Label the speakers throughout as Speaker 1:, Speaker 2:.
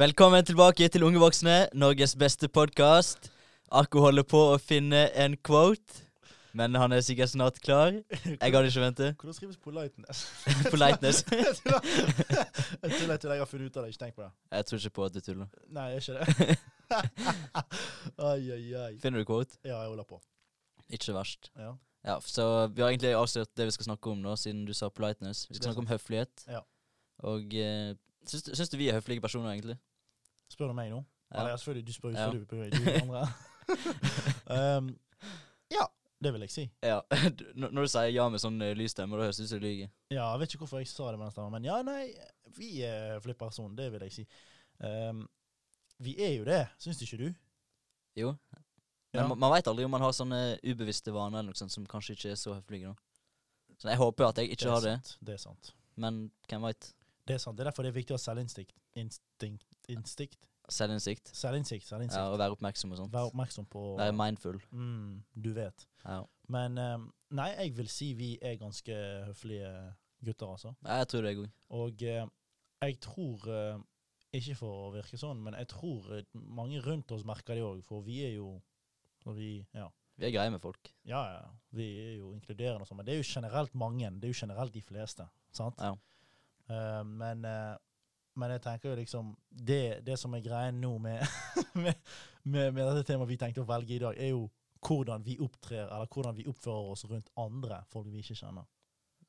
Speaker 1: Velkommen tilbake til Unge voksne, Norges beste podkast. Akko holder på å finne en quote, men han er sikkert snart klar. Jeg hadde ikke ventet.
Speaker 2: Hvordan skrives politeness?
Speaker 1: Politeness.
Speaker 2: Jeg tuller, jeg tuller, jeg tuller, jeg har funnet ut av det. Ikke tenk på det.
Speaker 1: Jeg tror ikke på at du tuller.
Speaker 2: Nei, jeg gjør ikke det. Ai, ai, ai.
Speaker 1: Finner du quote?
Speaker 2: Ja, jeg holder på.
Speaker 1: Ikke verst.
Speaker 2: Ja.
Speaker 1: Ja, så vi har egentlig avslørt det vi skal snakke om nå, siden du sa politeness. Vi
Speaker 2: Det er
Speaker 1: skal snakke om høflighet.
Speaker 2: Ja.
Speaker 1: Og eh, syns, syns du vi er høflige personer, egentlig?
Speaker 2: Spør du meg nå?
Speaker 1: Ja.
Speaker 2: Eller, ja, selvfølgelig, du spør jo
Speaker 1: Ja.
Speaker 2: selvfølgelig på du er den andre. um, ja, det vil jeg si.
Speaker 1: Ja. du- Når når du sier ja med sånn eh, lys stemme, da høres det ut som du lyver.
Speaker 2: Ja, jeg vet ikke hvorfor jeg sa det med den stemmen, men ja, nei, vi er flippersonen, det vil jeg si. Um, vi er jo det, syns ikke du?
Speaker 1: Jo. Men
Speaker 2: Ja.
Speaker 1: man, man veit aldri om man har sånne ubevisste vaner eller noe sånt som kanskje ikke er så høflige. da. Så jeg håper at jeg ikke har det,
Speaker 2: sant, Det er sant.
Speaker 1: men hvem veit?
Speaker 2: Det er sant. Det er derfor det er viktig å ha selvinstinkt. Instinkt, instinkt.
Speaker 1: Selvinnsikt.
Speaker 2: Selvinnsikt. selvinnsikt.
Speaker 1: Ja, og være oppmerksom og sånt.
Speaker 2: Vær oppmerksom på
Speaker 1: Være mindful.
Speaker 2: mm, Du vet.
Speaker 1: Ja.
Speaker 2: Men um, nei, jeg vil si vi er ganske høflige gutter, altså.
Speaker 1: Ja, jeg tror det er god.
Speaker 2: Og eh, jeg tror eh, Ikke for å virke sånn, men jeg tror eh, mange rundt oss merker det òg, for vi er jo og vi, ja.
Speaker 1: Vi er greie med folk.
Speaker 2: ja, ja. Vi er jo inkluderende og sånn, men det er jo generelt mange. Det er jo generelt de fleste. Sant?
Speaker 1: Ja.
Speaker 2: Eh, men, eh, men jeg tenker jo liksom Det, det som er greien nå med, med, med, med dette temaet vi tenkte å velge i dag, er jo hvordan vi opptrer, eller hvordan vi oppfører oss rundt andre folk vi ikke kjenner.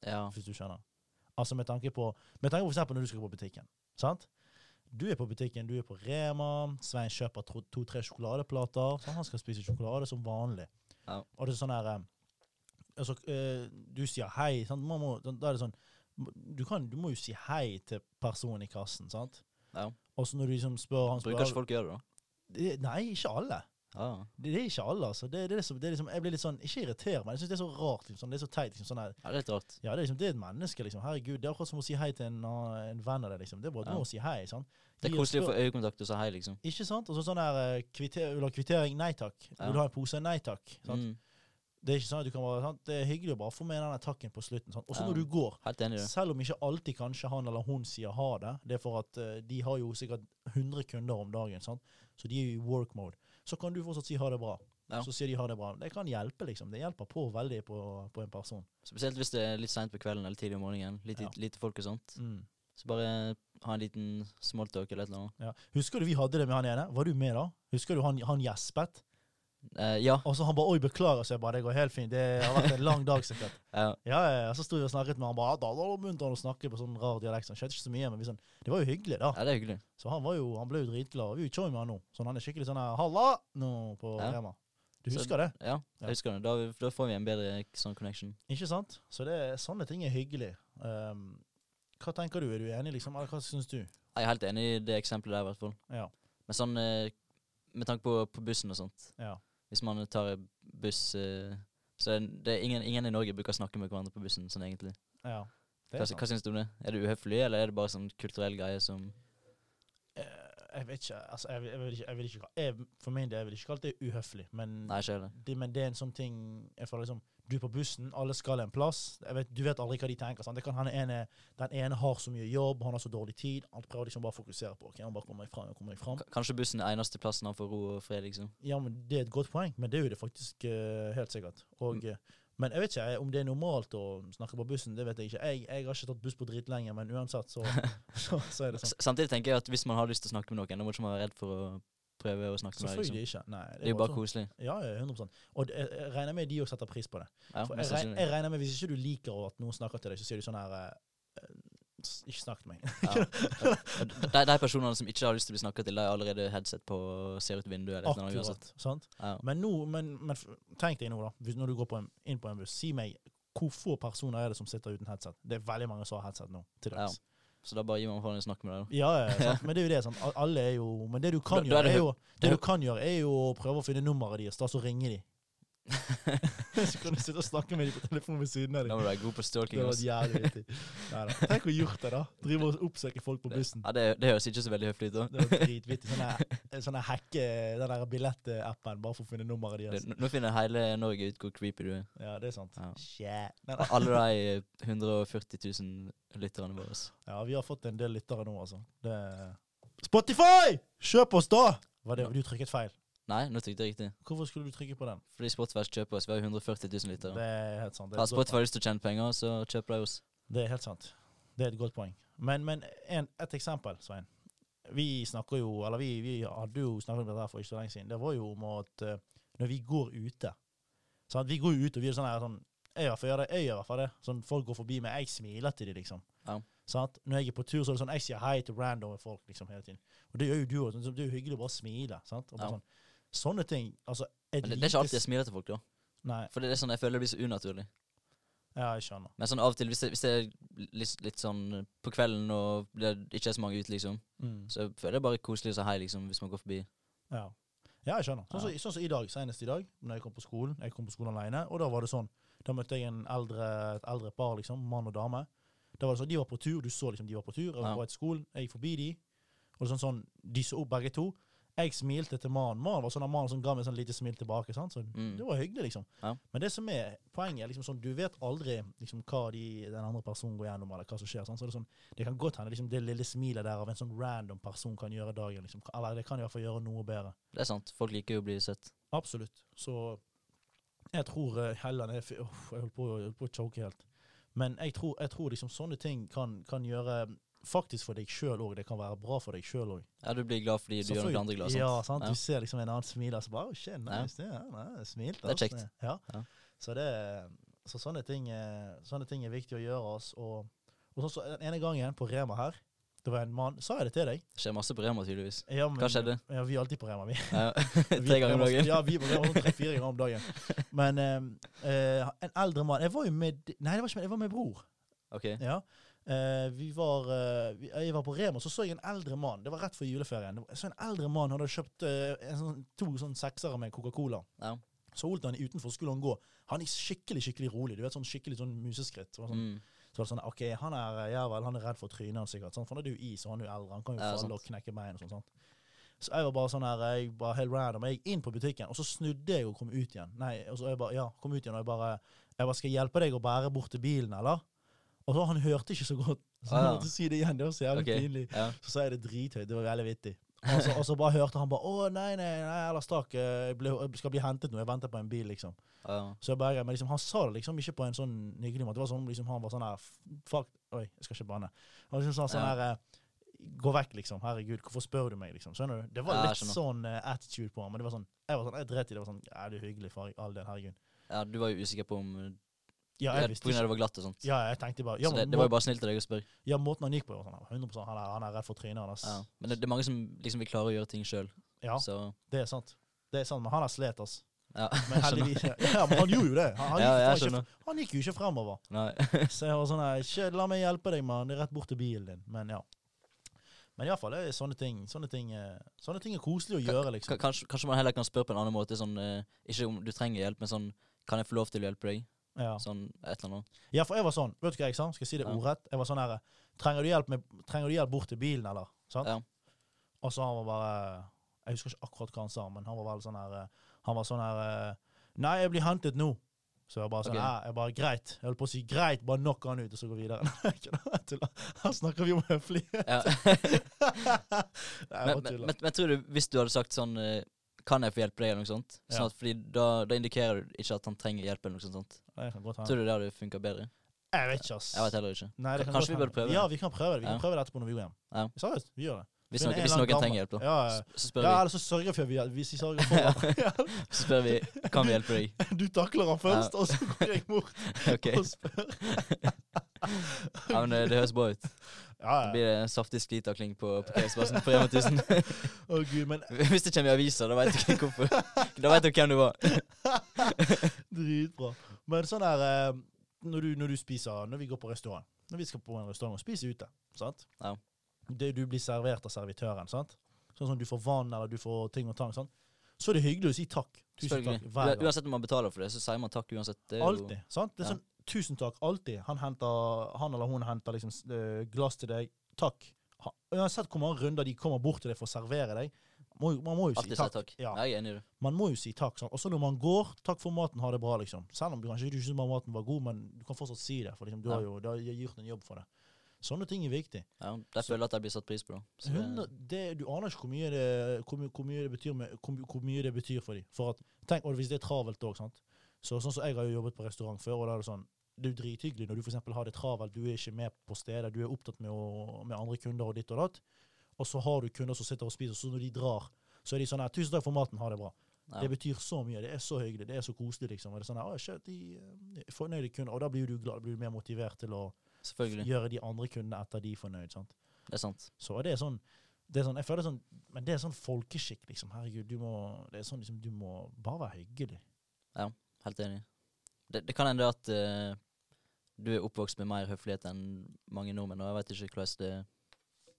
Speaker 1: Ja.
Speaker 2: Hvis du skjønner. Altså med tanke på Med tanke på for eksempel når du skal på butikken. Sant? Du er på butikken, du er på Rema. Svein kjøper to- to-tre sjokoladeplater. Sant? Han skal spise sjokolade som vanlig.
Speaker 1: Ja.
Speaker 2: Og det er sånn her eh, altså, eh, Du sier hei. Sant? Man må, da er det sånn du, kan, du må jo si hei til personen i kassen, sant?
Speaker 1: Ja.
Speaker 2: Og så når du liksom spør han spør,
Speaker 1: Bruker ikke folk å gjøre det,
Speaker 2: Det- Nei, ikke alle.
Speaker 1: da? Ja.
Speaker 2: Det, det er ikke alle, altså. Det, det er liksom, det er liksom, jeg blir litt sånn Ikke irritert, men jeg syns det er så rart. Liksom, sånn, det er så teit. Liksom, sånn her,
Speaker 1: Ja, det er litt rart.
Speaker 2: ja, det er, liksom, det er et menneske, liksom. Herregud, det er akkurat som å si hei til en, annen- en venn av deg, liksom. Det er bare
Speaker 1: Ja.
Speaker 2: ja. å si hei, sant?
Speaker 1: Det er
Speaker 2: Gi
Speaker 1: koselig å
Speaker 2: et
Speaker 1: få øyekontakt og si hei, liksom.
Speaker 2: spør- Ikke sant? Og så sånn der eh, kvitter, Vil du ha kvittering? Nei takk.
Speaker 1: Ja.
Speaker 2: Vil du ha en pose? Nei takk. Sant?
Speaker 1: Mm.
Speaker 2: Det er ikke sånn at du kan bare sant? Det er hyggelig å bare få med den der takken på slutten. sant? Og så
Speaker 1: Ja.
Speaker 2: når du går,
Speaker 1: Helt enig i det.
Speaker 2: selv om ikke alltid kanskje han eller hun sier ha det, det er for at eh, de har jo sikkert 100 kunder om dagen, sant? så de er jo i work mode, så kan du fortsatt si ha det bra.
Speaker 1: Ja.
Speaker 2: Så sier de ha det bra. Det kan hjelpe, liksom. Det hjelper på veldig på, på en person.
Speaker 1: Spesielt hvis det er litt seint på kvelden eller tidlig om morgenen. Litt,
Speaker 2: Ja.
Speaker 1: Lite folk og sånt.
Speaker 2: Mm.
Speaker 1: Så bare ha en liten smalltalk eller et eller annet.
Speaker 2: Ja. Husker du vi hadde det med han ene? Var du med da? Husker du han, han gjespet?
Speaker 1: Eh, ja.
Speaker 2: Og så han bare 'oi, beklager', så jeg bare 'det går helt fint', det har vært en lang dag sikkert.
Speaker 1: ja.
Speaker 2: Ja, ja, ja. Så sto vi og snakket med han bare da, da, da begynte han å snakke på sånn rar dialekt. sånn, skjønte ikke så mye, men vi sånn, det var jo hyggelig, da.
Speaker 1: ja, det er hyggelig.
Speaker 2: Så han, var jo, han ble jo dritglad. Vi er jo choi med han nå. Sånn, han er skikkelig sånn her 'halla' nå på
Speaker 1: Ja.
Speaker 2: Rema. Du
Speaker 1: Så-
Speaker 2: husker det,
Speaker 1: Ja, jeg
Speaker 2: Ja.
Speaker 1: husker det. Da, da får vi en bedre sånn connection.
Speaker 2: ikke sant? Så det, sånne ting er hyggelig. Ehm, hva tenker du? Er du enig, liksom? Eller hva syns du?
Speaker 1: Jeg er helt enig i det eksempelet der, i hvert fall.
Speaker 2: Ja.
Speaker 1: Men sånn eh, med tanke på, på bussen og sånt
Speaker 2: Ja.
Speaker 1: Hvis man tar buss eh, Så er det er ingen, ingen i Norge bruker å snakke med hverandre på bussen, sånn egentlig.
Speaker 2: ja. Det
Speaker 1: Hva,
Speaker 2: er sant.
Speaker 1: hva syns du om det? Er det uhøflig, eller er det bare sånn kulturell greie som
Speaker 2: Eh, jeg vet ikke. altså jeg, vil- jeg vil ikke, jeg vil ikke ka- jeg, For min del jeg vil ikke kalle det uhøflig, men
Speaker 1: Nei, ikke heller.
Speaker 2: det, men det er en sånn ting jeg føler liksom, Du er på bussen, alle skal en plass. Jeg vet, du vet aldri hva de tenker. Sant? Det kan, han ene, den ene har så mye jobb, han har så dårlig tid. Han prøver liksom bare å fokusere på ok, han bare kommer meg frem, jeg kommer meg frem.
Speaker 1: K- Kanskje bussen er eneste plassen han får ro og fred, liksom.
Speaker 2: Ja, men Det er et godt poeng, men det er jo det faktisk eh, helt sikkert. Og,
Speaker 1: Mm.
Speaker 2: eh, men jeg vet ikke eh, om det er normalt å snakke på bussen. det vet Jeg ikke. Jeg, jeg har ikke tatt buss på dritlenge, men uansett så, så, så er det sånn.
Speaker 1: S- Samtidig tenker jeg at hvis man har lyst til å snakke med noen, da må ikke man være redd for å prøve å snakke med deg. Liksom.
Speaker 2: Selvfølgelig ikke. Nei,
Speaker 1: Det er jo bare
Speaker 2: sånn.
Speaker 1: koselig.
Speaker 2: Ja, ja, 100 Og det- jeg, jeg regner med de òg setter pris på det.
Speaker 1: Ja,
Speaker 2: For jeg,
Speaker 1: mest
Speaker 2: regner,
Speaker 1: sannsynlig.
Speaker 2: jeg regner med Hvis ikke du liker at noen snakker til deg, så sier du sånn her eh, s- Ikke snakk til meg.
Speaker 1: Ja. Og d- De, de personene som ikke har lyst til å bli snakka til, de har allerede headset på og ser ut vinduet. eller et eller annet uansett.
Speaker 2: Akkurat. sant?
Speaker 1: Ja.
Speaker 2: Men, nå, men, men f- tenk deg nå, da. Hvis, når du går på en, inn på en buss, si meg hvor få personer er det som sitter uten headset? Det er veldig mange som har headset nå. til dags.
Speaker 1: Så da bare gir man faen i å snakke med deg, da.
Speaker 2: Ja, ja, sant? Men det er jo det. Sant? Al- Alle er jo Men det du
Speaker 1: Da-
Speaker 2: kan,
Speaker 1: da er
Speaker 2: gjøre,
Speaker 1: det
Speaker 2: er jo, det
Speaker 1: hø-
Speaker 2: du kan gjøre, er jo å prøve å finne nummeret deres, da så ringer de. så kan du sitte og snakke med dem på telefonen ved siden av
Speaker 1: Da
Speaker 2: dem.
Speaker 1: må du være god på stalking.
Speaker 2: Det var
Speaker 1: ass.
Speaker 2: jævlig vittig. Neida. Tenk å gjort det, da. Drive og oppsøke folk på bussen.
Speaker 1: Ja, det, det høres ikke så veldig høflig ut, da.
Speaker 2: Det var dritvittig. Sånne, sånne hacke Den der billettappen bare for å finne nummeret
Speaker 1: Det,
Speaker 2: deres.
Speaker 1: nå- nå finner hele Norge ut hvor creepy du er.
Speaker 2: Ja, det er sant.
Speaker 1: Ja.
Speaker 2: Shit. Nei,
Speaker 1: A-
Speaker 2: nei.
Speaker 1: Alle de 140 000 lytterne våre. ass.
Speaker 2: Ja, vi har fått en del lyttere nå, altså. Det, Spotify! Kjøp oss, da! Var det, du trykket feil.
Speaker 1: Nei, nå trykte jeg riktig.
Speaker 2: Hvorfor skulle du trykke på den?
Speaker 1: Fordi Spotify kjøper oss. Vi har 140 000
Speaker 2: Det
Speaker 1: lyttere.
Speaker 2: er helt sant. Det er,
Speaker 1: Har
Speaker 2: et godt,
Speaker 1: Spotify lyst til å tjene penger, så kjøper de oss.
Speaker 2: det er helt sant. Det er et godt poeng. Men, men en, et eksempel, Svein. Vi snakker jo, eller vi, vi hadde jo snakket om dette her for ikke så lenge siden. Det var jo om at eh, når vi går ute sant? Vi går jo ut, og vi er sånn her sånn Jeg i hvert fall gjør det. Jeg gjør i hvert fall det. Sånn Folk går forbi meg. Jeg smiler til dem, liksom.
Speaker 1: Ja.
Speaker 2: Sant? Når jeg er på tur, så er det sånn Jeg sier hei til random folk liksom hele tiden. Og det gjør jo du òg. Sånn, det er jo hyggelig å bare smile. Sant? Og bare
Speaker 1: Ja.
Speaker 2: sånn. Sånne ting. Altså et
Speaker 1: Men det, det er ikke alltid
Speaker 2: lite
Speaker 1: jeg smiler til folk, da.
Speaker 2: s- Nei.
Speaker 1: For det er sånn, jeg føler det blir så unaturlig.
Speaker 2: Ja, jeg skjønner.
Speaker 1: Men sånn av og til, hvis det, hvis det er litt, litt sånn på kvelden og det ikke er så mange ute, liksom,
Speaker 2: Mm.
Speaker 1: så føler jeg bare koselig å si hei, liksom, hvis man går forbi.
Speaker 2: Ja. ja, jeg skjønner. Sånn som
Speaker 1: Ja.
Speaker 2: sånn som i dag, senest i dag, når jeg kom på skolen. Jeg kom på skolen alene, og da var det sånn. Da møtte jeg en eldre, et eldre par, liksom, mann og dame. Da var det sånn, De var på tur, du så liksom de var på tur. Jeg var
Speaker 1: Ja.
Speaker 2: på et skolen, jeg gikk forbi de, og sånn sånn, de så opp begge to. Jeg smilte til mannen. Mannen var sånn, mannen som ga meg sånn lite smil tilbake. sant? Så
Speaker 1: Mm.
Speaker 2: Det var hyggelig, liksom.
Speaker 1: Ja.
Speaker 2: Men det som er poenget, er liksom sånn, du vet aldri liksom, hva de, den andre personen går gjennom, eller hva som skjer. sant? Så Det er sånn, det kan godt hende liksom, det lille smilet der av en sånn random person kan gjøre dagen. liksom. Eller det kan i hvert fall gjøre noe bedre.
Speaker 1: Det er sant. Folk liker jo å bli sett.
Speaker 2: Absolutt. Så jeg tror eh, Helland er fi- Uff, Jeg holdt på, å- holdt på å choke helt. Men jeg tror, jeg tror liksom sånne ting kan, kan gjøre mm, Faktisk for deg sjøl òg. Det kan være bra for deg sjøl òg.
Speaker 1: Ja, du blir glad fordi du gjør noen andre glad. sånn. Sant?
Speaker 2: Ja, sant?
Speaker 1: Ja.
Speaker 2: Du ser liksom en annen smile, og så bare oh, shit,
Speaker 1: Ja.
Speaker 2: nice, det, ja, nei, smilt,
Speaker 1: Det er
Speaker 2: altså.
Speaker 1: kjekt.
Speaker 2: Ja.
Speaker 1: Ja.
Speaker 2: Så, det, så sånne, ting, eh, sånne ting er viktig å gjøre oss. Og, og sånn som den ene gangen på Rema her, det var en mann Sa jeg det til deg?
Speaker 1: Det skjer masse på Rema, tydeligvis.
Speaker 2: Ja, men-
Speaker 1: Hva skjedde?
Speaker 2: Ja, vi er alltid på Rema, vi.
Speaker 1: Ja,
Speaker 2: Vi
Speaker 1: Tre ganger om
Speaker 2: prøver oss-
Speaker 1: dagen.
Speaker 2: Ja, vi prøver oss tre-fire ganger om dagen. Men eh, eh, en eldre mann Jeg var jo med Nei, det var ikke med, jeg var med bror.
Speaker 1: Ok.
Speaker 2: Ja. Eh, vi var, eh, vi, jeg var på Rema, så så jeg en eldre mann. Det var rett før juleferien. Det var- Jeg så en eldre mann hadde kjøpt eh, en sånn, to sånn seksere med Coca-Cola.
Speaker 1: Ja.
Speaker 2: Så holdt han utenfor, skulle han gå. Han gikk skikkelig skikkelig rolig. Du vet, sånn Skikkelig sånn museskritt. Det var Sånn,
Speaker 1: Mm.
Speaker 2: Så var det sånn, ok, han er eh, jævel, han er redd for trynet hans sikkert. Sånn, for han er jo is, og han er jo eldre, han kan jo
Speaker 1: Ja,
Speaker 2: falle
Speaker 1: sant.
Speaker 2: og knekke bein og sånn. sant? Så jeg var bare sånn her, jeg bare helt random, jeg gikk inn på butikken, og så snudde jeg og kom ut igjen. Nei, og så jeg bare, ja, kom ut igjen, og jeg bare, jeg bare, skal jeg hjelpe deg å bære bort til bilen, eller? Og så han hørte ikke så godt, så
Speaker 1: Ah,
Speaker 2: jeg
Speaker 1: ja.
Speaker 2: måtte si det igjen, det var så jævlig
Speaker 1: Ok.
Speaker 2: pinlig.
Speaker 1: Ja.
Speaker 2: Så sa jeg det drithøyt, det var veldig vittig. Og så, og så bare hørte han bare, å nei, nei, nei, eller stakk, eh, jeg, ble, jeg skal bli hentet nå, jeg venter på en bil, liksom.
Speaker 1: Ja.
Speaker 2: Så jeg bare, men liksom, han sa det liksom ikke på en sånn hyggelig måte. Det var sånn, liksom, han var sånn her f- Fuck Oi, jeg skal ikke banne. Han liksom sa sånn
Speaker 1: Ja.
Speaker 2: her eh, Gå vekk, liksom. Herregud, hvorfor spør du meg, liksom? Skjønner du? Det var
Speaker 1: Ja, jeg
Speaker 2: litt
Speaker 1: skjønner.
Speaker 2: sånn eh, attitude på ham. Men det var sånn, jeg var sånn, jeg dret i det. det. var sånn, Ja, det er hyggelig, far. All den, herregud.
Speaker 1: ja, du var jo usikker på om
Speaker 2: Ja,
Speaker 1: ja,
Speaker 2: jeg
Speaker 1: På
Speaker 2: visste
Speaker 1: grunn av
Speaker 2: ikke.
Speaker 1: det var glatt og sånt.
Speaker 2: Ja, jeg tenkte bare
Speaker 1: Så
Speaker 2: Ja,
Speaker 1: det,
Speaker 2: men,
Speaker 1: det var jo
Speaker 2: må,
Speaker 1: bare snilt av deg å spørre.
Speaker 2: ja måten han gikk på, jeg var sånn "Han er 100 han er, han er redd for trynet hans.
Speaker 1: Ja. Men det, det er mange som liksom vil klare å gjøre ting sjøl,
Speaker 2: Ja.
Speaker 1: så
Speaker 2: det er sant. Det er sant, men han er slet, ass.
Speaker 1: ja.
Speaker 2: Men
Speaker 1: Skjønner.
Speaker 2: heldigvis Ja, men han gjorde jo det. Han, han,
Speaker 1: Ja,
Speaker 2: gikk,
Speaker 1: jeg
Speaker 2: faen
Speaker 1: skjønner.
Speaker 2: ikke, han gikk jo ikke fremover.
Speaker 1: Nei.
Speaker 2: Så jeg var sånn her, ikke la meg hjelpe deg, mann. Det er rett bort til bilen din. Men ja. Men iallfall, det er sånne ting. Sånne ting, eh, sånne ting er koselig å gjøre,
Speaker 1: Ka-
Speaker 2: liksom.
Speaker 1: Kanskje, kanskje man heller kan spørre på en annen måte. Sånn, eh, ikke om du trenger hjelp, men sånn Kan jeg få lov til å hjelpe deg?
Speaker 2: Ja.
Speaker 1: Sånn et eller annet.
Speaker 2: ja, for jeg var sånn. Vet du hva jeg sa? Skal jeg si det
Speaker 1: Ja.
Speaker 2: ordrett? Jeg var sånn her Trenger du hjelp, med, trenger du hjelp bort til bilen, eller? Sant?
Speaker 1: Ja.
Speaker 2: Og så han var bare Jeg husker ikke akkurat hva han sa, men han var vel sånn her eh, Han var sånn her eh, Nei, jeg blir hentet nå. Så jeg var bare sånn
Speaker 1: Ok.
Speaker 2: «Hæ?» jeg bare, Greit. Jeg holdt på å si greit, bare knock han ut, og så gå videre. Nei, jeg kødder. Jeg tuller. Her snakker vi om høflig.
Speaker 1: Ja.
Speaker 2: Nei, jeg bare altså.
Speaker 1: men, men,
Speaker 2: tuller.
Speaker 1: men, men tror du, hvis du hadde sagt sånn eh, Kan jeg få hjelpe deg, eller noe sånt? Sånn
Speaker 2: Ja.
Speaker 1: at, fordi da, da indikerer du ikke at han trenger hjelp, eller noe sånt.
Speaker 2: Nei, det kan godt hende.
Speaker 1: Tror du det hadde funka bedre?
Speaker 2: Jeg vet ikke, ass.
Speaker 1: Jeg vet heller ikke.
Speaker 2: Nei, det kan
Speaker 1: Kanskje
Speaker 2: godt
Speaker 1: vi burde
Speaker 2: hende.
Speaker 1: prøve det?
Speaker 2: Ja, vi kan prøve det. Vi kan
Speaker 1: Ja.
Speaker 2: prøve det etterpå når vi går hjem.
Speaker 1: Ja.
Speaker 2: Seriøst, vi gjør det.
Speaker 1: Hvis
Speaker 2: Finne
Speaker 1: noen,
Speaker 2: en
Speaker 1: hvis
Speaker 2: eller annen
Speaker 1: noen
Speaker 2: gammel-
Speaker 1: trenger hjelp, da.
Speaker 2: Ja, ja.
Speaker 1: S- Så spør,
Speaker 2: ja eller så sørger vi for vi, hvis vi sørger for hverandre.
Speaker 1: vi, så spør vi Kan vi hjelpe deg?
Speaker 2: Du takler han først, og så går jeg bort
Speaker 1: Ok.
Speaker 2: og spør.
Speaker 1: Ja, men eh, Det høres bra ut.
Speaker 2: Ja,
Speaker 1: Da
Speaker 2: ja.
Speaker 1: blir det en saftig sklitakling på parkeringsplassen på Rema 1000.
Speaker 2: Å gud, men
Speaker 1: Hvis det kommer i aviser, da veit du hvorfor. Da vet du hvem du var.
Speaker 2: dritbra. Men sånn der eh, når du, når du spiser Når vi går på restaurant Når vi skal på en restaurant og spise ute, sant?
Speaker 1: Ja.
Speaker 2: Det du blir servert av servitøren, sant? Sånn som du får vann, eller du får ting og tang, sant? Så er det hyggelig å si takk. Tusen takk.
Speaker 1: Selvfølgelig.
Speaker 2: Hver
Speaker 1: Ua-
Speaker 2: gang.
Speaker 1: Uansett om man betaler for det, så sier man takk uansett. Det er jo-
Speaker 2: Alltid. sant? Det er
Speaker 1: Ja.
Speaker 2: sånn, Tusen takk, alltid. Han, henter, han eller hun henter liksom s- øh, glass til deg. Takk. Ha, uansett hvor mange runder de kommer bort til deg for å servere deg, må, jo- man må jo si
Speaker 1: Alltid sier
Speaker 2: takk.
Speaker 1: takk.
Speaker 2: Ja.
Speaker 1: Jeg er enig i det.
Speaker 2: Man må jo si takk. Sant? Også når man går, takk for maten, ha det bra, liksom. Selv om du kanskje ikke syns maten var god, men du kan fortsatt si det, for liksom, du,
Speaker 1: Ja.
Speaker 2: har jo, du har gjort en jobb for det. Sånne ting er viktig.
Speaker 1: Ja, der føler jeg at jeg blir satt pris på, da. Så det-
Speaker 2: 100, det, du aner ikke hvor mye det, hvor, my- hvor mye det betyr, med, hvor, my- hvor mye det betyr for dem. For at, tenk, og hvis det er travelt òg, sant. Så, sånn som jeg har jo jobbet på restaurant før, og da er det sånn Det er jo drithyggelig når du for eksempel har det travelt, du er ikke med på stedet, du er opptatt med, å, med andre kunder og ditt og datt. Og så har du kunder som sitter og spiser, og så når de drar, så er de sånn her 'Tusen takk for maten, ha det bra'.
Speaker 1: Ja.
Speaker 2: Det betyr så mye. Det er så hyggelig. Det er så koselig, liksom. Og det er sånn her, «Å, shit, de eh, er fornøyde kunder. Og da blir du glad. Da blir du mer motivert til å
Speaker 1: Selvfølgelig.
Speaker 2: gjøre de andre kundene etter de fornøyd. sant?
Speaker 1: Det er sant.
Speaker 2: Så det er sånn det er sånn, jeg føler sånn, Men det er sånn folkeskikk, liksom. Herregud, du må det er sånn liksom, du må bare være hyggelig.
Speaker 1: Helt enig. Det, det kan hende at eh, du er oppvokst med mer høflighet enn mange nordmenn, og jeg vet ikke hvordan det er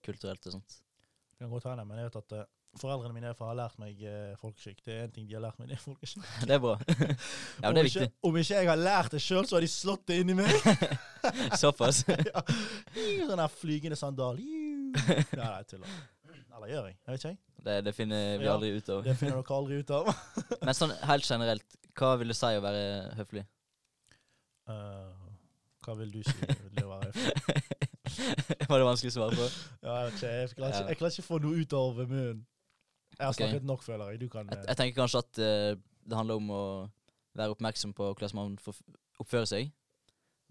Speaker 1: kulturelt og sånt.
Speaker 2: Det kan godt hende, men jeg vet at eh, foreldrene mine har lært meg eh, folkeskikk. Det er en ting de har lært meg, det er folkeskikk.
Speaker 1: Det er bra. ja, men det er viktig.
Speaker 2: Om ikke, om ikke jeg har lært det sjøl, så har de slått det inni meg.
Speaker 1: Såpass.
Speaker 2: ja. Sånn der flygende sandal. Nei, nei, jeg tuller. Eller gjør jeg? Jeg vet ikke, jeg.
Speaker 1: Det, det finner vi
Speaker 2: Ja,
Speaker 1: aldri ut av.
Speaker 2: Det finner dere aldri ut av.
Speaker 1: Men sånn helt generelt, hva vil det si å være høflig?
Speaker 2: Eh, hva vil du si? Vil det være høflig?
Speaker 1: Var det vanskelig å svare på?
Speaker 2: Ja, jeg, vet ikke, jeg, klarer ikke,
Speaker 1: Ja.
Speaker 2: jeg klarer ikke få noe ut av munnen. Jeg har
Speaker 1: Ok.
Speaker 2: snakket nok, føler jeg. Du kan
Speaker 1: Jeg,
Speaker 2: eh,
Speaker 1: jeg tenker kanskje at eh, det handler om å være oppmerksom på hvordan man forf- oppfører seg,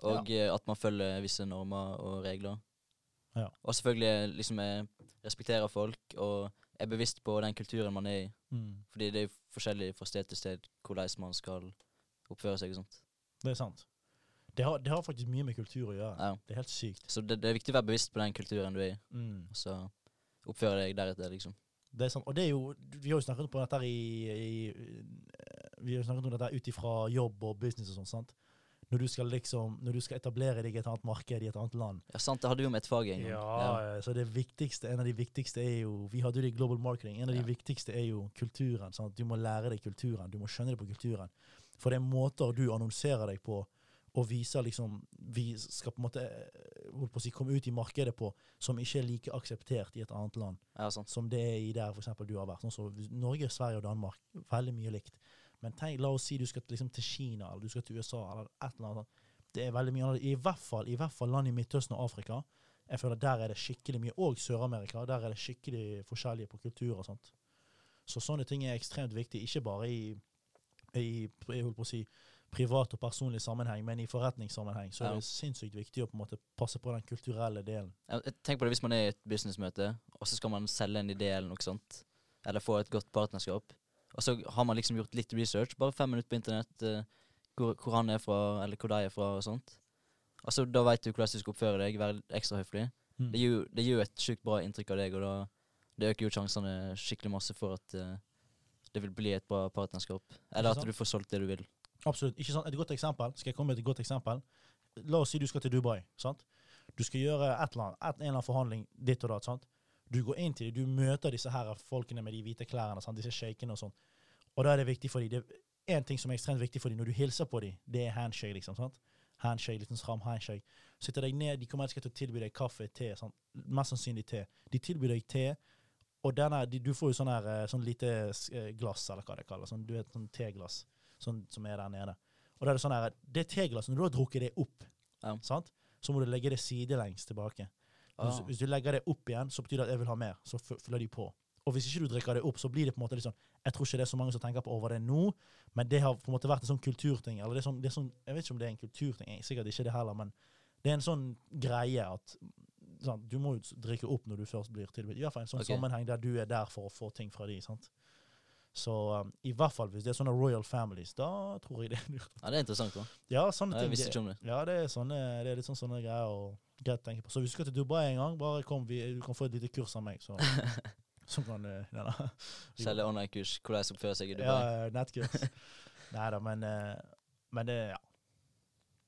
Speaker 1: og eh, at man følger visse normer og regler.
Speaker 2: Ja.
Speaker 1: Og selvfølgelig liksom eh, respekterer folk og er bevisst på den kulturen man er i.
Speaker 2: mm,
Speaker 1: Fordi det er jo forskjellig fra sted til sted hvordan man skal oppføre seg og sånt.
Speaker 2: Det er sant. Det har, det har faktisk mye med kultur å gjøre.
Speaker 1: Ja.
Speaker 2: Det er helt sykt.
Speaker 1: Så det, det er viktig å være bevisst på den kulturen du er i,
Speaker 2: Mm.
Speaker 1: og så oppføre deg deretter, liksom.
Speaker 2: Det er sant. Og det er jo Vi har jo snakket om dette her i, i Vi har jo snakket om dette her ut ifra jobb og business og sånn, sant. Når du skal liksom Når du skal etablere deg i et annet marked i et annet land.
Speaker 1: Ja, sant, det hadde vi jo med et fag en gang.
Speaker 2: Ja, så det viktigste, en av de viktigste er jo Vi hadde jo det i Global Marketing. En av
Speaker 1: Ja.
Speaker 2: de viktigste er jo kulturen. Sant? Du må lære deg kulturen. Du må skjønne det på kulturen. For det er måter du annonserer deg på og viser liksom Vi skal på en måte eh, holdt på å si, komme ut i markedet på som ikke er like akseptert i et annet land
Speaker 1: Ja, sant.
Speaker 2: som det er i der for eksempel du har vært. Sånn som Norge, Sverige og Danmark. Veldig mye likt. Men tenk, la oss si du skal liksom til Kina eller du skal til USA eller et eller annet. sånt. Det er veldig mye annet. I hvert fall, i hvert fall land i Midtøsten og Afrika. Jeg føler der er det skikkelig mye. Og Sør-Amerika. Der er det skikkelig forskjellige på kultur og sånt. Så sånne ting er ekstremt viktig, ikke bare i, i jeg holdt på å si, privat og personlig sammenheng, men i forretningssammenheng. Så
Speaker 1: Ja.
Speaker 2: er det sinnssykt viktig å på en måte passe på den kulturelle delen.
Speaker 1: Ja, Tenk på det hvis man er i et businessmøte, og så skal man selge en idé eller noe sånt. Eller få et godt partnerskap. Og så har man liksom gjort litt research, bare fem minutter på internett, eh, hvor, hvor han er fra, eller hvor de er fra, og sånt. Og så da veit du hvordan du skal oppføre deg, være litt ekstra høflig.
Speaker 2: Mm.
Speaker 1: Det gir jo- det gir jo et sjukt bra inntrykk av deg, og da det øker jo sjansene skikkelig masse for at eh, det vil bli et bra partnerskap. Eller
Speaker 2: Ikke
Speaker 1: at du får solgt det du vil.
Speaker 2: Absolutt. Ikke sant? Et godt eksempel. Skal jeg komme med et godt eksempel? La oss si du skal til Dubai. sant? Du skal gjøre et eller annet, et, en eller annen forhandling ditt og datt. sant? Du går inn til dem, du møter disse her folkene med de hvite klærne, sant? disse sjeikene og sånn. Og da er det viktig for dem. Én ting som er ekstremt viktig for dem når du hilser på dem, det er handshake. liksom, sant? Handshake, liten stram handshake. Sitter deg ned, de kommer ikke til å tilby deg kaffe, te. sant? Mest sannsynlig te. De tilbyr deg te, og denne, de, du får jo sånn her, eh, sånn lite eh, glass, eller hva det kalles. Sånn, du vet, sånn teglass sånn, som er der nede. Og da er det sånn her, det teglasset, når du har drukket det opp,
Speaker 1: Ja.
Speaker 2: sant? så må du legge det sidelengs tilbake. Hvis, hvis du legger det opp igjen, så betyr det at jeg vil ha mer. Så fø- følger de på. Og hvis ikke du drikker det opp, så blir det på en måte litt sånn Jeg tror ikke det er så mange som tenker på over det nå, men det har på en måte vært en sånn kulturting. Eller det er sånn, det er sånn Jeg vet ikke om det er en kulturting, jeg- sikkert ikke det heller, men det er en sånn greie at sant, Du må jo drikke opp når du først blir tilbudt. I hvert fall en sånn
Speaker 1: Ok.
Speaker 2: sammenheng der du er der for å få ting fra de, sant. Så um, i hvert fall hvis det er sånne royal families, da tror jeg det er lurt.
Speaker 1: Ja, det er interessant, da.
Speaker 2: Ja, sånne
Speaker 1: Ja, Jeg
Speaker 2: ting.
Speaker 1: visste
Speaker 2: det-
Speaker 1: ikke om det.
Speaker 2: ja, det er, sånne, det er litt sånn sånne greier å greit å tenke på. Så hvis du skal til Dubai en gang, bare kom, vi, du kan få et lite kurs av meg. Så, så kan du ja, da. Vi-
Speaker 1: Selge online-kurs, hvordan jeg oppfører seg i Dubai.
Speaker 2: Ja, eh, nettkurs. Nei da, men, eh, men det ja.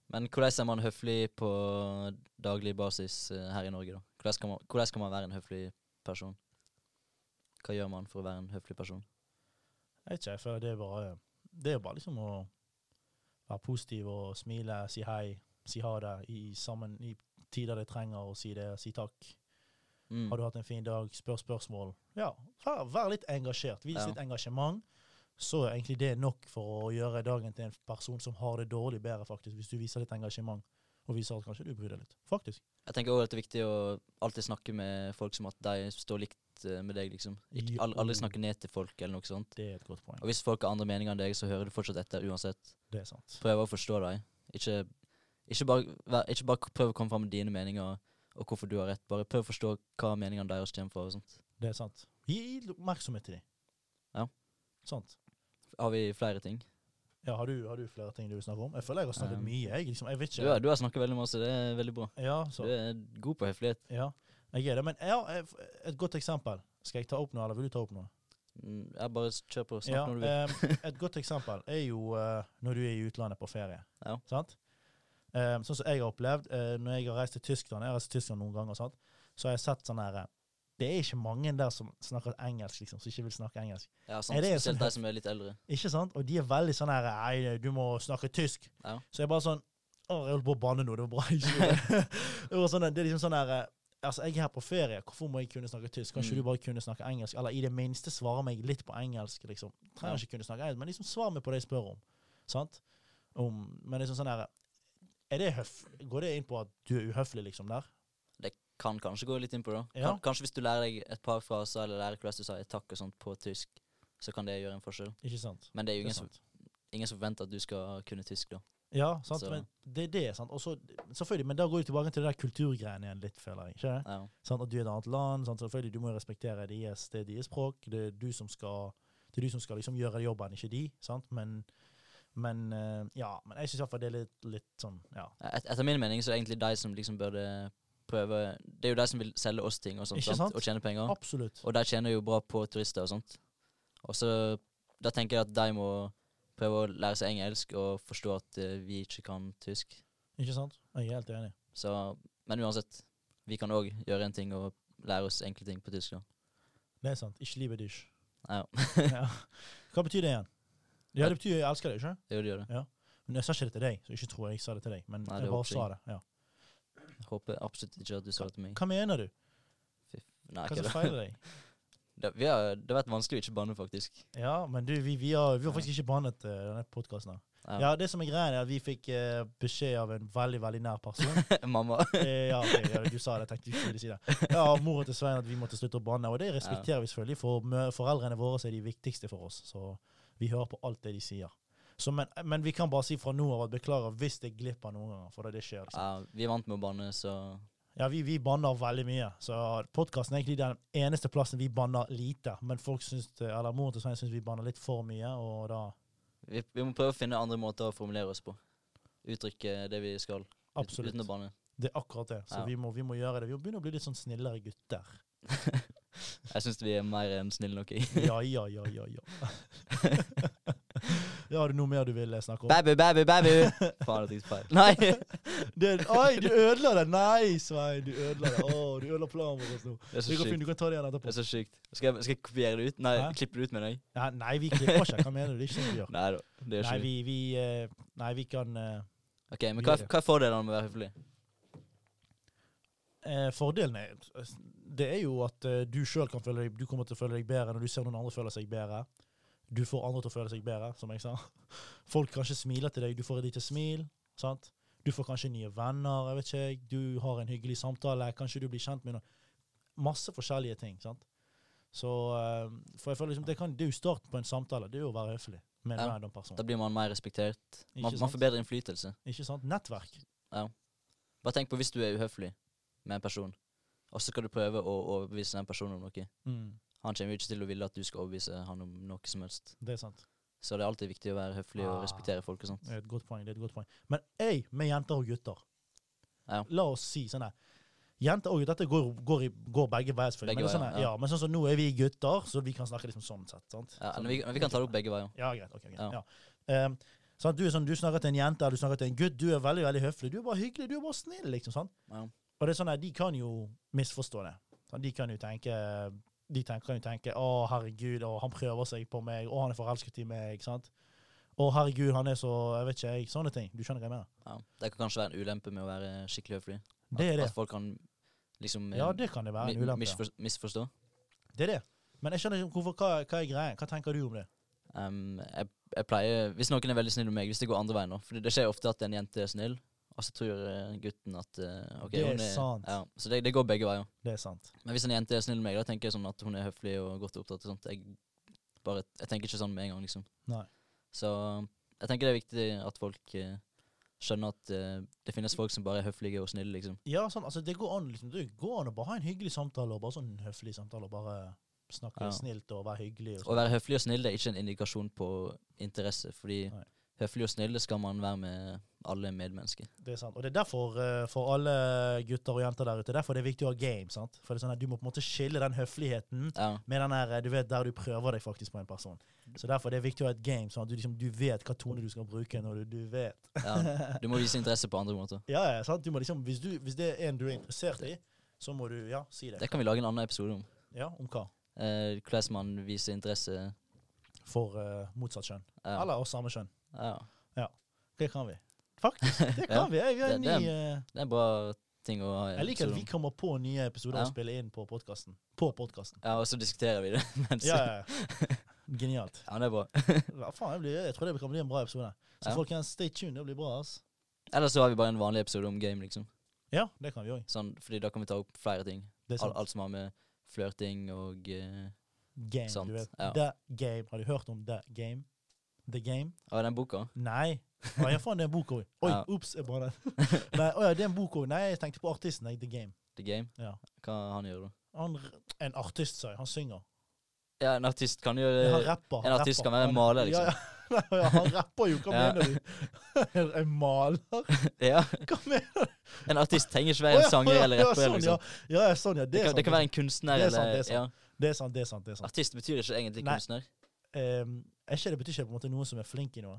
Speaker 1: Men hvordan er man høflig på daglig basis eh, her i Norge, da? Hvordan skal, man, hvordan skal man være en høflig person? Hva gjør man for å være en høflig person?
Speaker 2: Jeg vet ikke, jeg føler det er bare Det er bare liksom å være positiv og smile, si hei, si ha det i, sammen, i tider det trenger å si det, si takk.
Speaker 1: Mm.
Speaker 2: Har du hatt en fin dag? Spør spørsmål. Ja, vær, vær litt engasjert. Vis
Speaker 1: Ja.
Speaker 2: litt engasjement. Så er egentlig det nok for å gjøre dagen til en person som har det dårlig, bedre, faktisk, hvis du viser litt engasjement. og viser at kanskje du bryr deg litt. Faktisk.
Speaker 1: Jeg tenker også at det er viktig å alltid snakke med folk som at de står likt eh, med deg, liksom. Ikke, al- aldri snakke ned til folk eller noe sånt.
Speaker 2: Det er et godt poeng.
Speaker 1: Og hvis folk har andre meninger enn deg, så hører du fortsatt etter uansett.
Speaker 2: Det er sant.
Speaker 1: Prøv å forstå deg. Ikke, ikke, bare, vær, ikke bare prøv å komme fram med dine meninger og hvorfor du har rett. Bare prøv å forstå hva meningene deres kommer fra. og sånt.
Speaker 2: Det er sant. Gi litt oppmerksomhet til dem.
Speaker 1: Ja.
Speaker 2: Sant.
Speaker 1: Har vi flere ting?
Speaker 2: Ja, har, du, har du flere ting du vil snakke om? Jeg føler jeg har snakket
Speaker 1: Um,
Speaker 2: mye. Jeg, liksom, jeg vet
Speaker 1: Du,
Speaker 2: ikke.
Speaker 1: har- du har snakket veldig masse, det er veldig bra.
Speaker 2: Ja,
Speaker 1: Du
Speaker 2: så,
Speaker 1: er god på høflighet.
Speaker 2: ja, jeg er det. Men ja, jeg- et godt eksempel. Skal jeg ta opp noe, eller vil du ta opp noe?
Speaker 1: Mm, Jeg bare s- kjør på. Snakk
Speaker 2: Ja, eh,
Speaker 1: når du vil.
Speaker 2: em, et godt eksempel er jo eh, når du er i utlandet på ferie.
Speaker 1: Ja.
Speaker 2: Sant? Em, sånn som jeg har opplevd eh, når jeg har reist til Tyskland, jeg har reist til Tyskland noen ganger, sant? så har jeg sett sånn her eh, Det er ikke mange der som snakker engelsk, liksom, som ikke vil snakke engelsk.
Speaker 1: Ja, sant.
Speaker 2: er det en
Speaker 1: Spesielt
Speaker 2: sånn-
Speaker 1: de som er litt eldre.
Speaker 2: Ikke sant? Og de er veldig sånn her Nei, du må snakke tysk.
Speaker 1: Ja.
Speaker 2: Så jeg bare sånn Å, jeg holdt på å banne nå. Det var bra jeg ikke gjorde det. det var sånn, det er liksom sånn her eh, Altså, jeg er her på ferie. Hvorfor må jeg kunne snakke tysk? Kan
Speaker 1: Mm.
Speaker 2: ikke du bare kunne snakke engelsk? Eller i det minste svare meg litt på engelsk, liksom. Trenger ikke kunne snakke engelsk, men liksom svar meg på det jeg spør om. Sant? Om, men liksom sånn her Er det høf... Går det inn på at du er uhøflig, liksom, der?
Speaker 1: Det kan kanskje gå litt inn på det. da.
Speaker 2: Ja.
Speaker 1: Kan, kanskje hvis du lærer deg et par fraser eller lærer hvordan du sier takk og sånt på tysk, så kan det gjøre en forskjell.
Speaker 2: Ikke sant?
Speaker 1: Men det er jo
Speaker 2: Det er
Speaker 1: ingen, som,
Speaker 2: sant.
Speaker 1: ingen som forventer at du skal kunne tysk, da.
Speaker 2: Ja, sant?
Speaker 1: Så-
Speaker 2: Men det er det, sant? Og så Selvfølgelig, men da går du tilbake til det der kulturgreiene igjen litt, føler jeg. Ikke det?
Speaker 1: Ja.
Speaker 2: Sant? At du er et annet land. Sant? Selvfølgelig, du må jo respektere deres, det er deres språk. Det er du som skal, det er du som skal liksom gjøre jobben, ikke de. Sant? Men, men eh, ja, men jeg syns iallfall det er litt, litt sånn Ja.
Speaker 1: Et, etter min mening så er det egentlig de som liksom burde prøve Det er jo de som vil selge oss ting og sånt,
Speaker 2: Ikke
Speaker 1: sant?
Speaker 2: sant?
Speaker 1: og tjene penger.
Speaker 2: Absolutt.
Speaker 1: Og de tjener jo bra på turister og sånt. Og så da tenker jeg at de må prøve å lære seg engelsk og forstå at eh, vi ikke kan tysk.
Speaker 2: Ikke sant? Jeg er helt enig.
Speaker 1: Så, men uansett, vi kan òg gjøre en ting og lære oss enkle ting på tysk. da.
Speaker 2: Det er sant. Ikke livet ditt.
Speaker 1: Ja,
Speaker 2: Ja. Hva betyr det igjen? Ja, det betyr jeg elsker deg, ikke
Speaker 1: det gjør det.
Speaker 2: Men jeg sa ikke det til deg, så ikke tror jeg jeg sa det til deg. Men
Speaker 1: Nei, det
Speaker 2: jeg bare
Speaker 1: håper jeg.
Speaker 2: sa det. ja.
Speaker 1: Jeg Håper absolutt ikke at du sa det til meg.
Speaker 2: Hva mener du?
Speaker 1: Nei,
Speaker 2: Hva
Speaker 1: ikke
Speaker 2: som
Speaker 1: det.
Speaker 2: feiler deg?
Speaker 1: Det, vi har, det har vært vanskelig å ikke banne, faktisk.
Speaker 2: Ja, men du, vi, vi, har, vi
Speaker 1: Ja.
Speaker 2: har faktisk ikke bannet eh, denne podkasten.
Speaker 1: Ja.
Speaker 2: Ja, det som er greia, er at vi fikk eh, beskjed av en veldig, veldig nær person
Speaker 1: Mamma.
Speaker 2: Eh, ja, ok, ja, du sa det, jeg tenkte du skulle si det. Ja, mora til Svein at vi måtte slutte å banne, og det respekterer vi selvfølgelig, for mø- foreldrene våre er de viktigste for oss, så vi hører på alt det de sier. Så, men, men vi kan bare si fra nå av at beklager hvis det glipper noen ganger, for det, det skjer. Liksom.
Speaker 1: Ja, vi er vant med å banne, så
Speaker 2: Ja, vi, vi banner veldig mye, så podkasten er egentlig den eneste plassen vi banner lite, men folk syns, det- eller moren til Svein syns vi banner litt for mye, og da
Speaker 1: vi, vi må prøve å finne andre måter å formulere oss på. Uttrykke det vi skal, ut-
Speaker 2: absolutt.
Speaker 1: uten å banne.
Speaker 2: Det er akkurat det, så
Speaker 1: Ja.
Speaker 2: vi, må, vi må gjøre det. Vi må begynne å bli litt sånn snillere gutter.
Speaker 1: Jeg syns vi er mer enn snille nok i.
Speaker 2: Ja, ja, ja, ja, ja. ja, har du noe mer du vil eh, snakke om?
Speaker 1: Babu, babu, babu! Faen, jeg tok feil. Nei!
Speaker 2: Det, oi, du ødela det! Nei, Svein, du ødela det. Å, du ødela planen vår nå.
Speaker 1: Det er
Speaker 2: Det
Speaker 1: så
Speaker 2: går
Speaker 1: sjukt.
Speaker 2: fint, du kan ta det igjen
Speaker 1: Det
Speaker 2: etterpå.
Speaker 1: er så sjukt. Skal jeg, skal jeg kopiere det ut? Nei,
Speaker 2: Hæ?
Speaker 1: klippe det ut, mener jeg.
Speaker 2: Nei, nei, vi klipper ikke. Hva mener du? Det er ikke sånn vi gjør.
Speaker 1: Nei da. Det gjør
Speaker 2: Nei,
Speaker 1: ikke vi.
Speaker 2: vi, vi, eh, nei, vi kan eh,
Speaker 1: Ok, Men
Speaker 2: vi
Speaker 1: hva,
Speaker 2: gjør det.
Speaker 1: hva er fordelene med å være høflig?
Speaker 2: eh, Fordelen er Det er jo at eh, du sjøl kan føle deg Du kommer til å føle deg bedre når du ser noen andre føle seg bedre. Du får andre til å føle seg bedre, som jeg sa. Folk kanskje smiler til deg. Du får et lite smil. sant? Du får kanskje nye venner. jeg vet ikke, jeg. Du har en hyggelig samtale. Kanskje du blir kjent med noen. Masse forskjellige ting. sant? Så, eh, for jeg føler liksom, det, kan, det er jo starten på en samtale. Det er jo å være høflig med en
Speaker 1: Ja.
Speaker 2: random person.
Speaker 1: Da blir man mer respektert.
Speaker 2: Ikke
Speaker 1: Man, man
Speaker 2: sant?
Speaker 1: får bedre innflytelse.
Speaker 2: Ikke sant? Nettverk.
Speaker 1: Bare tenk på hvis du er uhøflig med en person, og så skal du prøve å overbevise den personen om noe.
Speaker 2: Mm,
Speaker 1: Han kommer jo ikke til å ville at du skal overbevise han om noe som helst.
Speaker 2: det er sant.
Speaker 1: Så det er alltid viktig å være høflig og
Speaker 2: Ah.
Speaker 1: respektere folk og sånt.
Speaker 2: Det er et godt poeng. det er et godt poeng. Men jeg, med jenter og gutter
Speaker 1: Ja.
Speaker 2: La oss si sånn her Jenter og gutter, dette går, går, i, går begge veier, selvfølgelig.
Speaker 1: Begge
Speaker 2: men, det er sånn
Speaker 1: veier,
Speaker 2: her, ja.
Speaker 1: ja.
Speaker 2: men sånn som nå er vi gutter, så vi kan snakke liksom sånn sett. sant?
Speaker 1: Ja,
Speaker 2: Sånn.
Speaker 1: men vi, men vi kan ta det opp begge veier.
Speaker 2: Ja, greit. ok, greit,
Speaker 1: Ja.
Speaker 2: ja. Ehm, sant, du, er sånn, du snakker til en jente eller du snakker til en gutt, du er veldig veldig høflig. Du er bare hyggelig, du er bare snill. liksom, sant?
Speaker 1: Ja.
Speaker 2: Og det er sånn her, De kan jo misforstå det. Sant? De kan jo tenke de tenker, kan jo tenke 'Å, herregud, å, han prøver seg på meg. Å, han er forelsket i meg.' sant? 'Å, herregud, han er så Jeg vet ikke, jeg. Sånne ting. Du skjønner hva jeg mener?
Speaker 1: Ja. Det kan kanskje være en ulempe med å være skikkelig høflig. At,
Speaker 2: Det er det.
Speaker 1: at folk kan liksom eh,
Speaker 2: Ja, det kan det være en
Speaker 1: mi-
Speaker 2: ulempe. ja.
Speaker 1: misfor, misforstå.
Speaker 2: Det er det. Men jeg skjønner ikke hvorfor, hva, hva er greia. Hva tenker du om det?
Speaker 1: Um, jeg, jeg pleier, Hvis noen er veldig snill med meg, hvis det går andre veien nå For det skjer ofte at en jente er snill, Og så tror eh, gutten at eh, ok,
Speaker 2: Det er
Speaker 1: hun
Speaker 2: sant.
Speaker 1: Ja, så det, det går begge veier.
Speaker 2: Det er sant.
Speaker 1: Men hvis en jente er snill med meg, da tenker jeg sånn at hun er høflig og godt opptatt. og sånt. Jeg, bare, jeg tenker ikke sånn med en gang, liksom.
Speaker 2: Nei.
Speaker 1: Så jeg tenker det er viktig at folk eh, skjønner at eh, det finnes folk som bare er høflige og snille, liksom.
Speaker 2: Ja, sånn, altså det går an liksom, det går an å bare ha en hyggelig samtale, og bare sånn høflig samtale, og bare snakke
Speaker 1: Ja.
Speaker 2: snilt og være hyggelig.
Speaker 1: Å
Speaker 2: Og sånn.
Speaker 1: være høflig og snill det er ikke en indikasjon på interesse, fordi
Speaker 2: Nei.
Speaker 1: høflig og snill det skal man være med alle medmennesker.
Speaker 2: Det er sant. Og det er derfor eh, for alle gutter og jenter der ute, derfor det er viktig å ha game. sant? For det er sånn at Du må på en måte skille den høfligheten
Speaker 1: Ja,
Speaker 2: med den her, eh, du vet, der du prøver deg faktisk på en person. Så derfor det er viktig å ha et game, sånn at du, liksom, du vet hva tone du skal bruke når du, du vet.
Speaker 1: ja. Du må vise interesse på andre måter.
Speaker 2: Ja, ja, sant? Du må liksom, hvis, du, hvis det er en du er interessert i, så må du ja, si det.
Speaker 1: Det kan vi lage en annen episode om.
Speaker 2: Ja, Om hva?
Speaker 1: Eh, Hvordan man viser interesse.
Speaker 2: For eh, motsatt kjønn.
Speaker 1: Ja.
Speaker 2: Eller oss samme kjønn.
Speaker 1: ja.
Speaker 2: Det kan vi. Faktisk, det kan
Speaker 1: Ja,
Speaker 2: vi. Jeg, vi har en
Speaker 1: det- det er-
Speaker 2: ny... eh,
Speaker 1: Det er en bra ting å ha i en
Speaker 2: Jeg liker at
Speaker 1: episode
Speaker 2: vi
Speaker 1: om.
Speaker 2: kommer på nye episoder
Speaker 1: Eh, Ja.
Speaker 2: og spiller inn på podkasten. På podkasten.
Speaker 1: Ja, og så diskuterer vi det. Mens,
Speaker 2: Ja,
Speaker 1: ja.
Speaker 2: ja, ja. Genialt.
Speaker 1: ja, det er bra.
Speaker 2: Hva faen, jeg, blir, jeg tror det kan bli en bra episode. Så
Speaker 1: Ja.
Speaker 2: folkens, stay tuned. Det blir bra. ass.
Speaker 1: Ellers så har vi bare en vanlig episode om game, liksom.
Speaker 2: Ja, det kan vi òg.
Speaker 1: Sånn, fordi da kan vi ta opp flere ting.
Speaker 2: Det er sånn
Speaker 1: Alt,
Speaker 2: sant.
Speaker 1: alt som har med flørting og eh,
Speaker 2: Game,
Speaker 1: sant,
Speaker 2: du vet.
Speaker 1: ja.
Speaker 2: The Game. Har du hørt om The Game? The Game?
Speaker 1: Ja, den boka.
Speaker 2: Nei. Å, ja, faen, det er en bok òg. Oi,
Speaker 1: Ja.
Speaker 2: ops. jeg bare- Nei, å ja, det er en bok òg. Nei, jeg tenkte på artisten. jeg, The Game.
Speaker 1: The Game.
Speaker 2: Ja.
Speaker 1: Hva han gjør da?
Speaker 2: Han, r- en artist, sa jeg. Han synger.
Speaker 1: Ja, en artist kan jo
Speaker 2: Han
Speaker 1: eh,
Speaker 2: rapper. han
Speaker 1: en artist
Speaker 2: rapper.
Speaker 1: kan være en
Speaker 2: Han-
Speaker 1: maler, liksom.
Speaker 2: Ja, ja. Nei, ja, han rapper jo. Hva
Speaker 1: Ja.
Speaker 2: mener du? En maler?
Speaker 1: Ja,
Speaker 2: Hva mener
Speaker 1: en artist trenger ikke være en sanger eller
Speaker 2: ja,
Speaker 1: rapper.
Speaker 2: sånn,
Speaker 1: liksom.
Speaker 2: Ja, ja, sånn, ja.
Speaker 1: Det
Speaker 2: Det er
Speaker 1: kan,
Speaker 2: sant.
Speaker 1: det kan være en kunstner
Speaker 2: Det er sant,
Speaker 1: eller
Speaker 2: det er
Speaker 1: ja.
Speaker 2: sant. Det er sant, det er sant. det er sant.
Speaker 1: Artist betyr ikke egentlig
Speaker 2: Nei.
Speaker 1: kunstner.
Speaker 2: Ehm, er ikke, det betyr ikke på en måte noen som er flink i noe.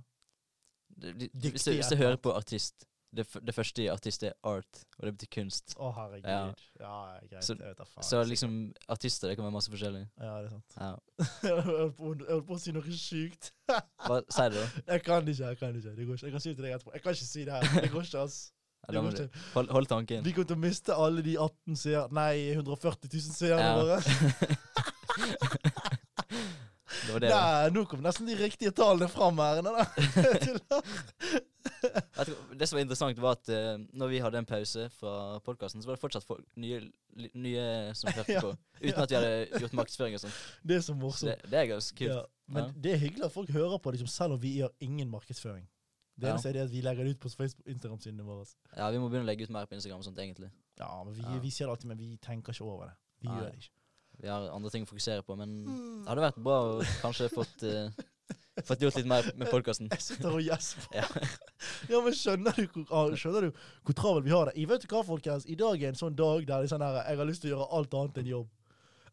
Speaker 1: Du- du-
Speaker 2: Dyktig
Speaker 1: Hvis du, hvis du
Speaker 2: et eller
Speaker 1: hører
Speaker 2: annet.
Speaker 1: på artist det, f det første i artist er art, og det betyr kunst.
Speaker 2: Å, herregud. Ja,
Speaker 1: Ja.
Speaker 2: greit.
Speaker 1: Så-
Speaker 2: jeg vet da faen. altså.
Speaker 1: Så liksom, artister det kan være masse forskjellig.
Speaker 2: Ja, det er sant.
Speaker 1: Ja.
Speaker 2: jeg holdt på jeg holdt på å si noe sjukt.
Speaker 1: Hva sier du da?
Speaker 2: Jeg kan ikke, jeg kan ikke. Det går ikke. Jeg kan si det til deg etterpå. Jeg kan ikke si det her. Det går ikke, ass.
Speaker 1: Ja,
Speaker 2: Det
Speaker 1: da må
Speaker 2: går
Speaker 1: du-
Speaker 2: ikke.
Speaker 1: Hold, hold tanken.
Speaker 2: Vi kommer til å miste alle de 18 seerne Nei, 140 000 seerne
Speaker 1: Ja.
Speaker 2: våre.
Speaker 1: Det var det. da.
Speaker 2: Nei, nå kom nesten de riktige tallene fram her. Nei, nei. Tuller.
Speaker 1: Vet du hva, Det som var interessant, var at eh, når vi hadde en pause fra podkasten, så var det fortsatt folk, nye, li- nye som hørte
Speaker 2: Ja,
Speaker 1: på. Uten at vi hadde gjort markedsføring og sånn.
Speaker 2: Det er
Speaker 1: Så
Speaker 2: så morsomt.
Speaker 1: det, det er ganske kult.
Speaker 2: Ja, men
Speaker 1: Ja.
Speaker 2: det er hyggelig at folk hører på, liksom, selv om vi gjør ingen markedsføring. Det
Speaker 1: Ja.
Speaker 2: eneste er det at vi legger det ut på Facebook Instagram-sidene våre.
Speaker 1: Ja, vi må begynne å legge ut mer på Instagram og sånt, egentlig.
Speaker 2: Ja, men vi,
Speaker 1: Ja.
Speaker 2: vi ser det alltid, men vi tenker ikke over det. Vi
Speaker 1: Nei.
Speaker 2: gjør det ikke.
Speaker 1: Vi har andre ting å fokusere på, men
Speaker 2: Hmm.
Speaker 1: det hadde vært bra å kanskje fått, eh, fått gjort litt mer med podkasten.
Speaker 2: Jeg sitter og gjesper.
Speaker 1: Ja.
Speaker 2: Ja, men skjønner du, hvor, ah, skjønner du hvor travel vi har det? Jeg vet du hva, folkens? I dag er en sånn dag der det er sånn her, jeg har lyst til å gjøre alt annet enn jobb.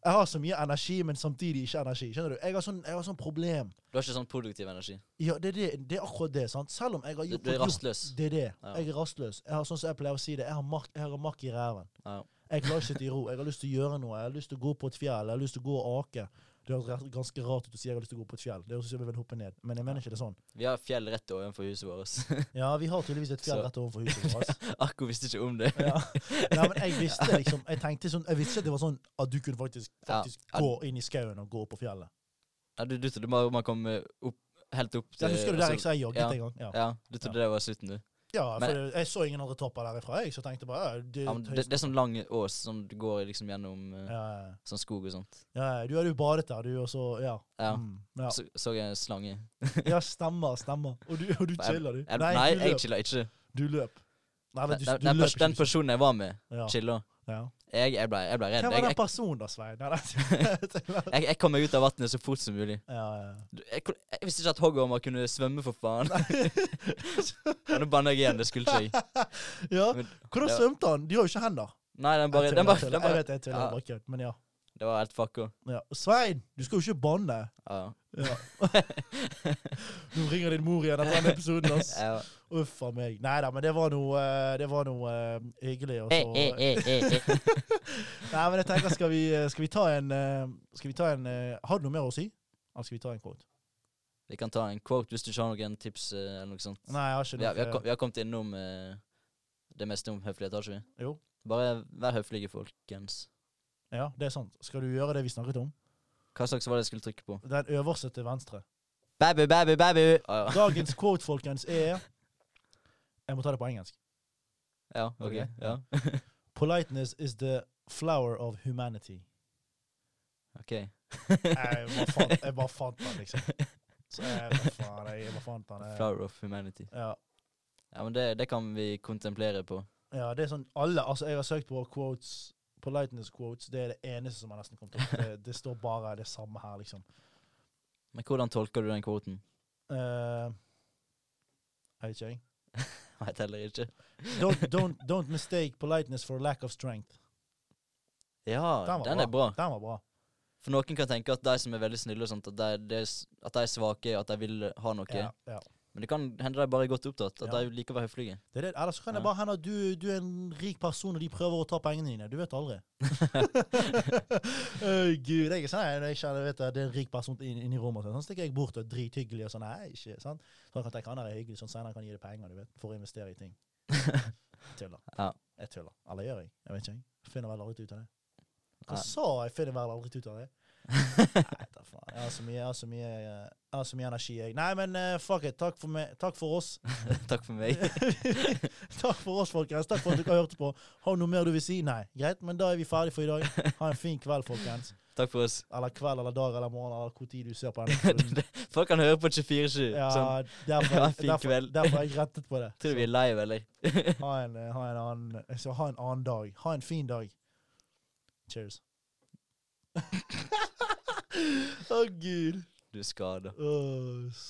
Speaker 2: Jeg har så mye energi, men samtidig ikke energi. Skjønner du? Jeg har sånn, jeg har sånn problem.
Speaker 1: Du har ikke sånn produktiv energi.
Speaker 2: Ja, det er, det, det er akkurat det. sant? Selv om jeg har
Speaker 1: Du,
Speaker 2: gjort,
Speaker 1: du er
Speaker 2: fått gjort
Speaker 1: rastløs.
Speaker 2: Det er det.
Speaker 1: Ja.
Speaker 2: Jeg er rastløs. Jeg har sånn som jeg pleier å si det. Jeg har makk, jeg har makk i ræven.
Speaker 1: Ja.
Speaker 2: Jeg klarer ikke sitte i ro. Jeg har lyst til å gjøre noe. Jeg har lyst til å gå på et fjell. Jeg har lyst til å gå og ake. Det høres rett- ganske rart ut å si jeg har lyst til å gå på et fjell. Det høres ut som jeg vil hoppe ned. Men jeg mener ikke det sånn.
Speaker 1: Vi har fjell rett ovenfor huset vårt.
Speaker 2: Ja, vi har tydeligvis et fjell
Speaker 1: Så-
Speaker 2: rett overfor huset vårt. ass.
Speaker 1: Akko visste ikke om det.
Speaker 2: Ja. Nei, men jeg visste liksom Jeg tenkte sånn Jeg visste ikke at det var sånn at du kunne faktisk,
Speaker 1: Ja.
Speaker 2: faktisk
Speaker 1: Ja.
Speaker 2: gå inn i skauen og gå opp på fjellet.
Speaker 1: Ja, du, du trodde bare man kom eh, opp, helt opp
Speaker 2: Jeg husker du der
Speaker 1: altså-
Speaker 2: jeg sa jeg jogget
Speaker 1: ja.
Speaker 2: en gang? Ja.
Speaker 1: Ja, du trodde det var slutten, du.
Speaker 2: ja,
Speaker 1: Men-
Speaker 2: for jeg så ingen andre topper derifra, jeg, så tenkte bare ja, det,
Speaker 1: Ja, men det, det er sånn lang ås som du går liksom gjennom eh,
Speaker 2: ja, ja.
Speaker 1: sånn skog og sånt.
Speaker 2: ja, ja, du hadde jo badet der, du, og så Ja.
Speaker 1: Ja.
Speaker 2: Mm, ja.
Speaker 1: Så så jeg en slange.
Speaker 2: Ja, stemmer, stemmer. Og du, og du
Speaker 1: Nei,
Speaker 2: chiller, du.
Speaker 1: Jeg,
Speaker 2: Nei,
Speaker 1: nei,
Speaker 2: du
Speaker 1: jeg
Speaker 2: løp.
Speaker 1: chilla ikke.
Speaker 2: Du løp. Nei, men
Speaker 1: Den,
Speaker 2: du,
Speaker 1: den,
Speaker 2: du
Speaker 1: den,
Speaker 2: løp
Speaker 1: pers-
Speaker 2: ikke.
Speaker 1: den
Speaker 2: du-
Speaker 1: personen jeg var med,
Speaker 2: ja,
Speaker 1: chilla.
Speaker 2: ja.
Speaker 1: Jeg, jeg ble, jeg ble redd.
Speaker 2: Hvem var
Speaker 1: Jeg,
Speaker 2: den
Speaker 1: jeg,
Speaker 2: personen da, Svein? Nei, nei.
Speaker 1: jeg, jeg kom meg ut av vannet så fort som mulig.
Speaker 2: Ja, ja.
Speaker 1: Du, Jeg, kon- jeg visste ikke at hoggormer kunne svømme, for faen. Ja, Nå banner jeg igjen, det skulle ikke jeg.
Speaker 2: ja.
Speaker 1: Men-
Speaker 2: Hvordan
Speaker 1: Ja.
Speaker 2: svømte han? De har jo ikke hender.
Speaker 1: Nei, den bare,
Speaker 2: Jeg
Speaker 1: den bare, den
Speaker 2: tuller, jeg tuller. Jeg
Speaker 1: bare
Speaker 2: vet, jeg tuller,
Speaker 1: Ja.
Speaker 2: jeg bare kødder, men ja.
Speaker 1: Det var helt fucka.
Speaker 2: ja. Svein, du skal jo ikke banne.
Speaker 1: Ja.
Speaker 2: Ja. Nå ringer din mor igjen etter den episoden, ass.
Speaker 1: Ja.
Speaker 2: Uff a meg. Nei da, men det var noe, eh, det var noe eh, hyggelig. Og så,
Speaker 1: eh,
Speaker 2: Nei, men jeg tenker, skal vi, skal vi ta en eh, Skal vi ta en eh, Har du noe mer å si? Eller skal vi ta en quote?
Speaker 1: Vi kan ta en quote hvis du ikke har noen tips eh, eller noe sånt.
Speaker 2: Nei, jeg har ikke
Speaker 1: Vi har, vi har,
Speaker 2: noe.
Speaker 1: kom- vi har kommet innom eh, det meste om høflighet, har ikke vi?
Speaker 2: Jo.
Speaker 1: Bare vær høflige, folkens.
Speaker 2: Ja, det er sant. Skal du gjøre det vi snakket om?
Speaker 1: Hva slags var det jeg skulle trykke på?
Speaker 2: Den øverste til venstre.
Speaker 1: Baby, baby, baby! Ah, ja.
Speaker 2: Dagens quote, folkens, er Jeg må ta det på engelsk.
Speaker 1: Ja, ok.
Speaker 2: Ok,
Speaker 1: Ja.
Speaker 2: Politeness is the flower of humanity.
Speaker 1: ok.
Speaker 2: Jeg bare fant, jeg bare fant den, liksom. Så jeg, hva faen, jeg, jeg bare fant den. Jeg,
Speaker 1: Flower of humanity.
Speaker 2: ja.
Speaker 1: Ja, men det, det kan vi kontemplere på.
Speaker 2: ja, det er sånn alle Altså, jeg har søkt på quotes, politeness quotes. Det er det eneste som har nesten kommet opp. Det, det står bare det samme her, liksom.
Speaker 1: Men hvordan tolker du den kvoten?
Speaker 2: Eh, jeg vet ikke, jeg.
Speaker 1: Jeg vet heller ikke.
Speaker 2: Don't, don't, don't mistake politeness for lack of strength.
Speaker 1: Ja,
Speaker 2: Den
Speaker 1: den,
Speaker 2: var
Speaker 1: er bra.
Speaker 2: Den var bra.
Speaker 1: For noen kan tenke at de som er veldig snille og sånt, at de, de, at de er svake, at de vil ha noe.
Speaker 2: Ja, ja.
Speaker 1: Men det kan hende de bare er godt opptatt, at
Speaker 2: Ja.
Speaker 1: de liker å være høflige.
Speaker 2: Det er det. Ellers kan det
Speaker 1: Ja.
Speaker 2: bare hende at du, du er en rik person, og de prøver å ta pengene dine. Du vet aldri. Øy, Gud, jeg er sånn, nei, når jeg kjenner, vet, at det er en rik person inn- inni rommet, sånn, sånn stikker jeg bort og er drithyggelig og sånn. Nei, ikke sant? Så jeg kan tenke, han der er hyggelig, sånn senere kan jeg gi deg penger, du vet, for å investere i ting. Tuller.
Speaker 1: Ja.
Speaker 2: Jeg tuller. Eller gjør jeg? Jeg vet ikke, jeg. Finner vel aldri ut av det. Hva
Speaker 1: Nei.
Speaker 2: sa jeg? Finner vel aldri ut av det. Nei, da faen. Jeg har så mye, jeg har så mye, eh, jeg har så mye energi, jeg. Nei, men eh, fuck it. Takk for, meg. Takk for oss.
Speaker 1: Takk for meg.
Speaker 2: Takk for oss, folkens. Takk for at dere hørte på. Har du noe mer du vil si? Nei. Greit, men da er vi ferdige for i dag. Ha en fin kveld, folkens.
Speaker 1: Takk for oss.
Speaker 2: Eller kveld eller dag eller morgen eller hvor tid du ser på den. episoden.
Speaker 1: Folk kan høre på 24-7.
Speaker 2: Ja,
Speaker 1: Sånn.
Speaker 2: derfor,
Speaker 1: Ha en fin
Speaker 2: derfor,
Speaker 1: kveld.
Speaker 2: derfor har jeg rettet på det.
Speaker 1: Tror du vi er live, eller?
Speaker 2: Ha en, eh, ha en, annen, jeg skal ha en annen dag. Ha en fin dag. Cheers. Å, gud.
Speaker 1: Du er skada.
Speaker 2: Åh,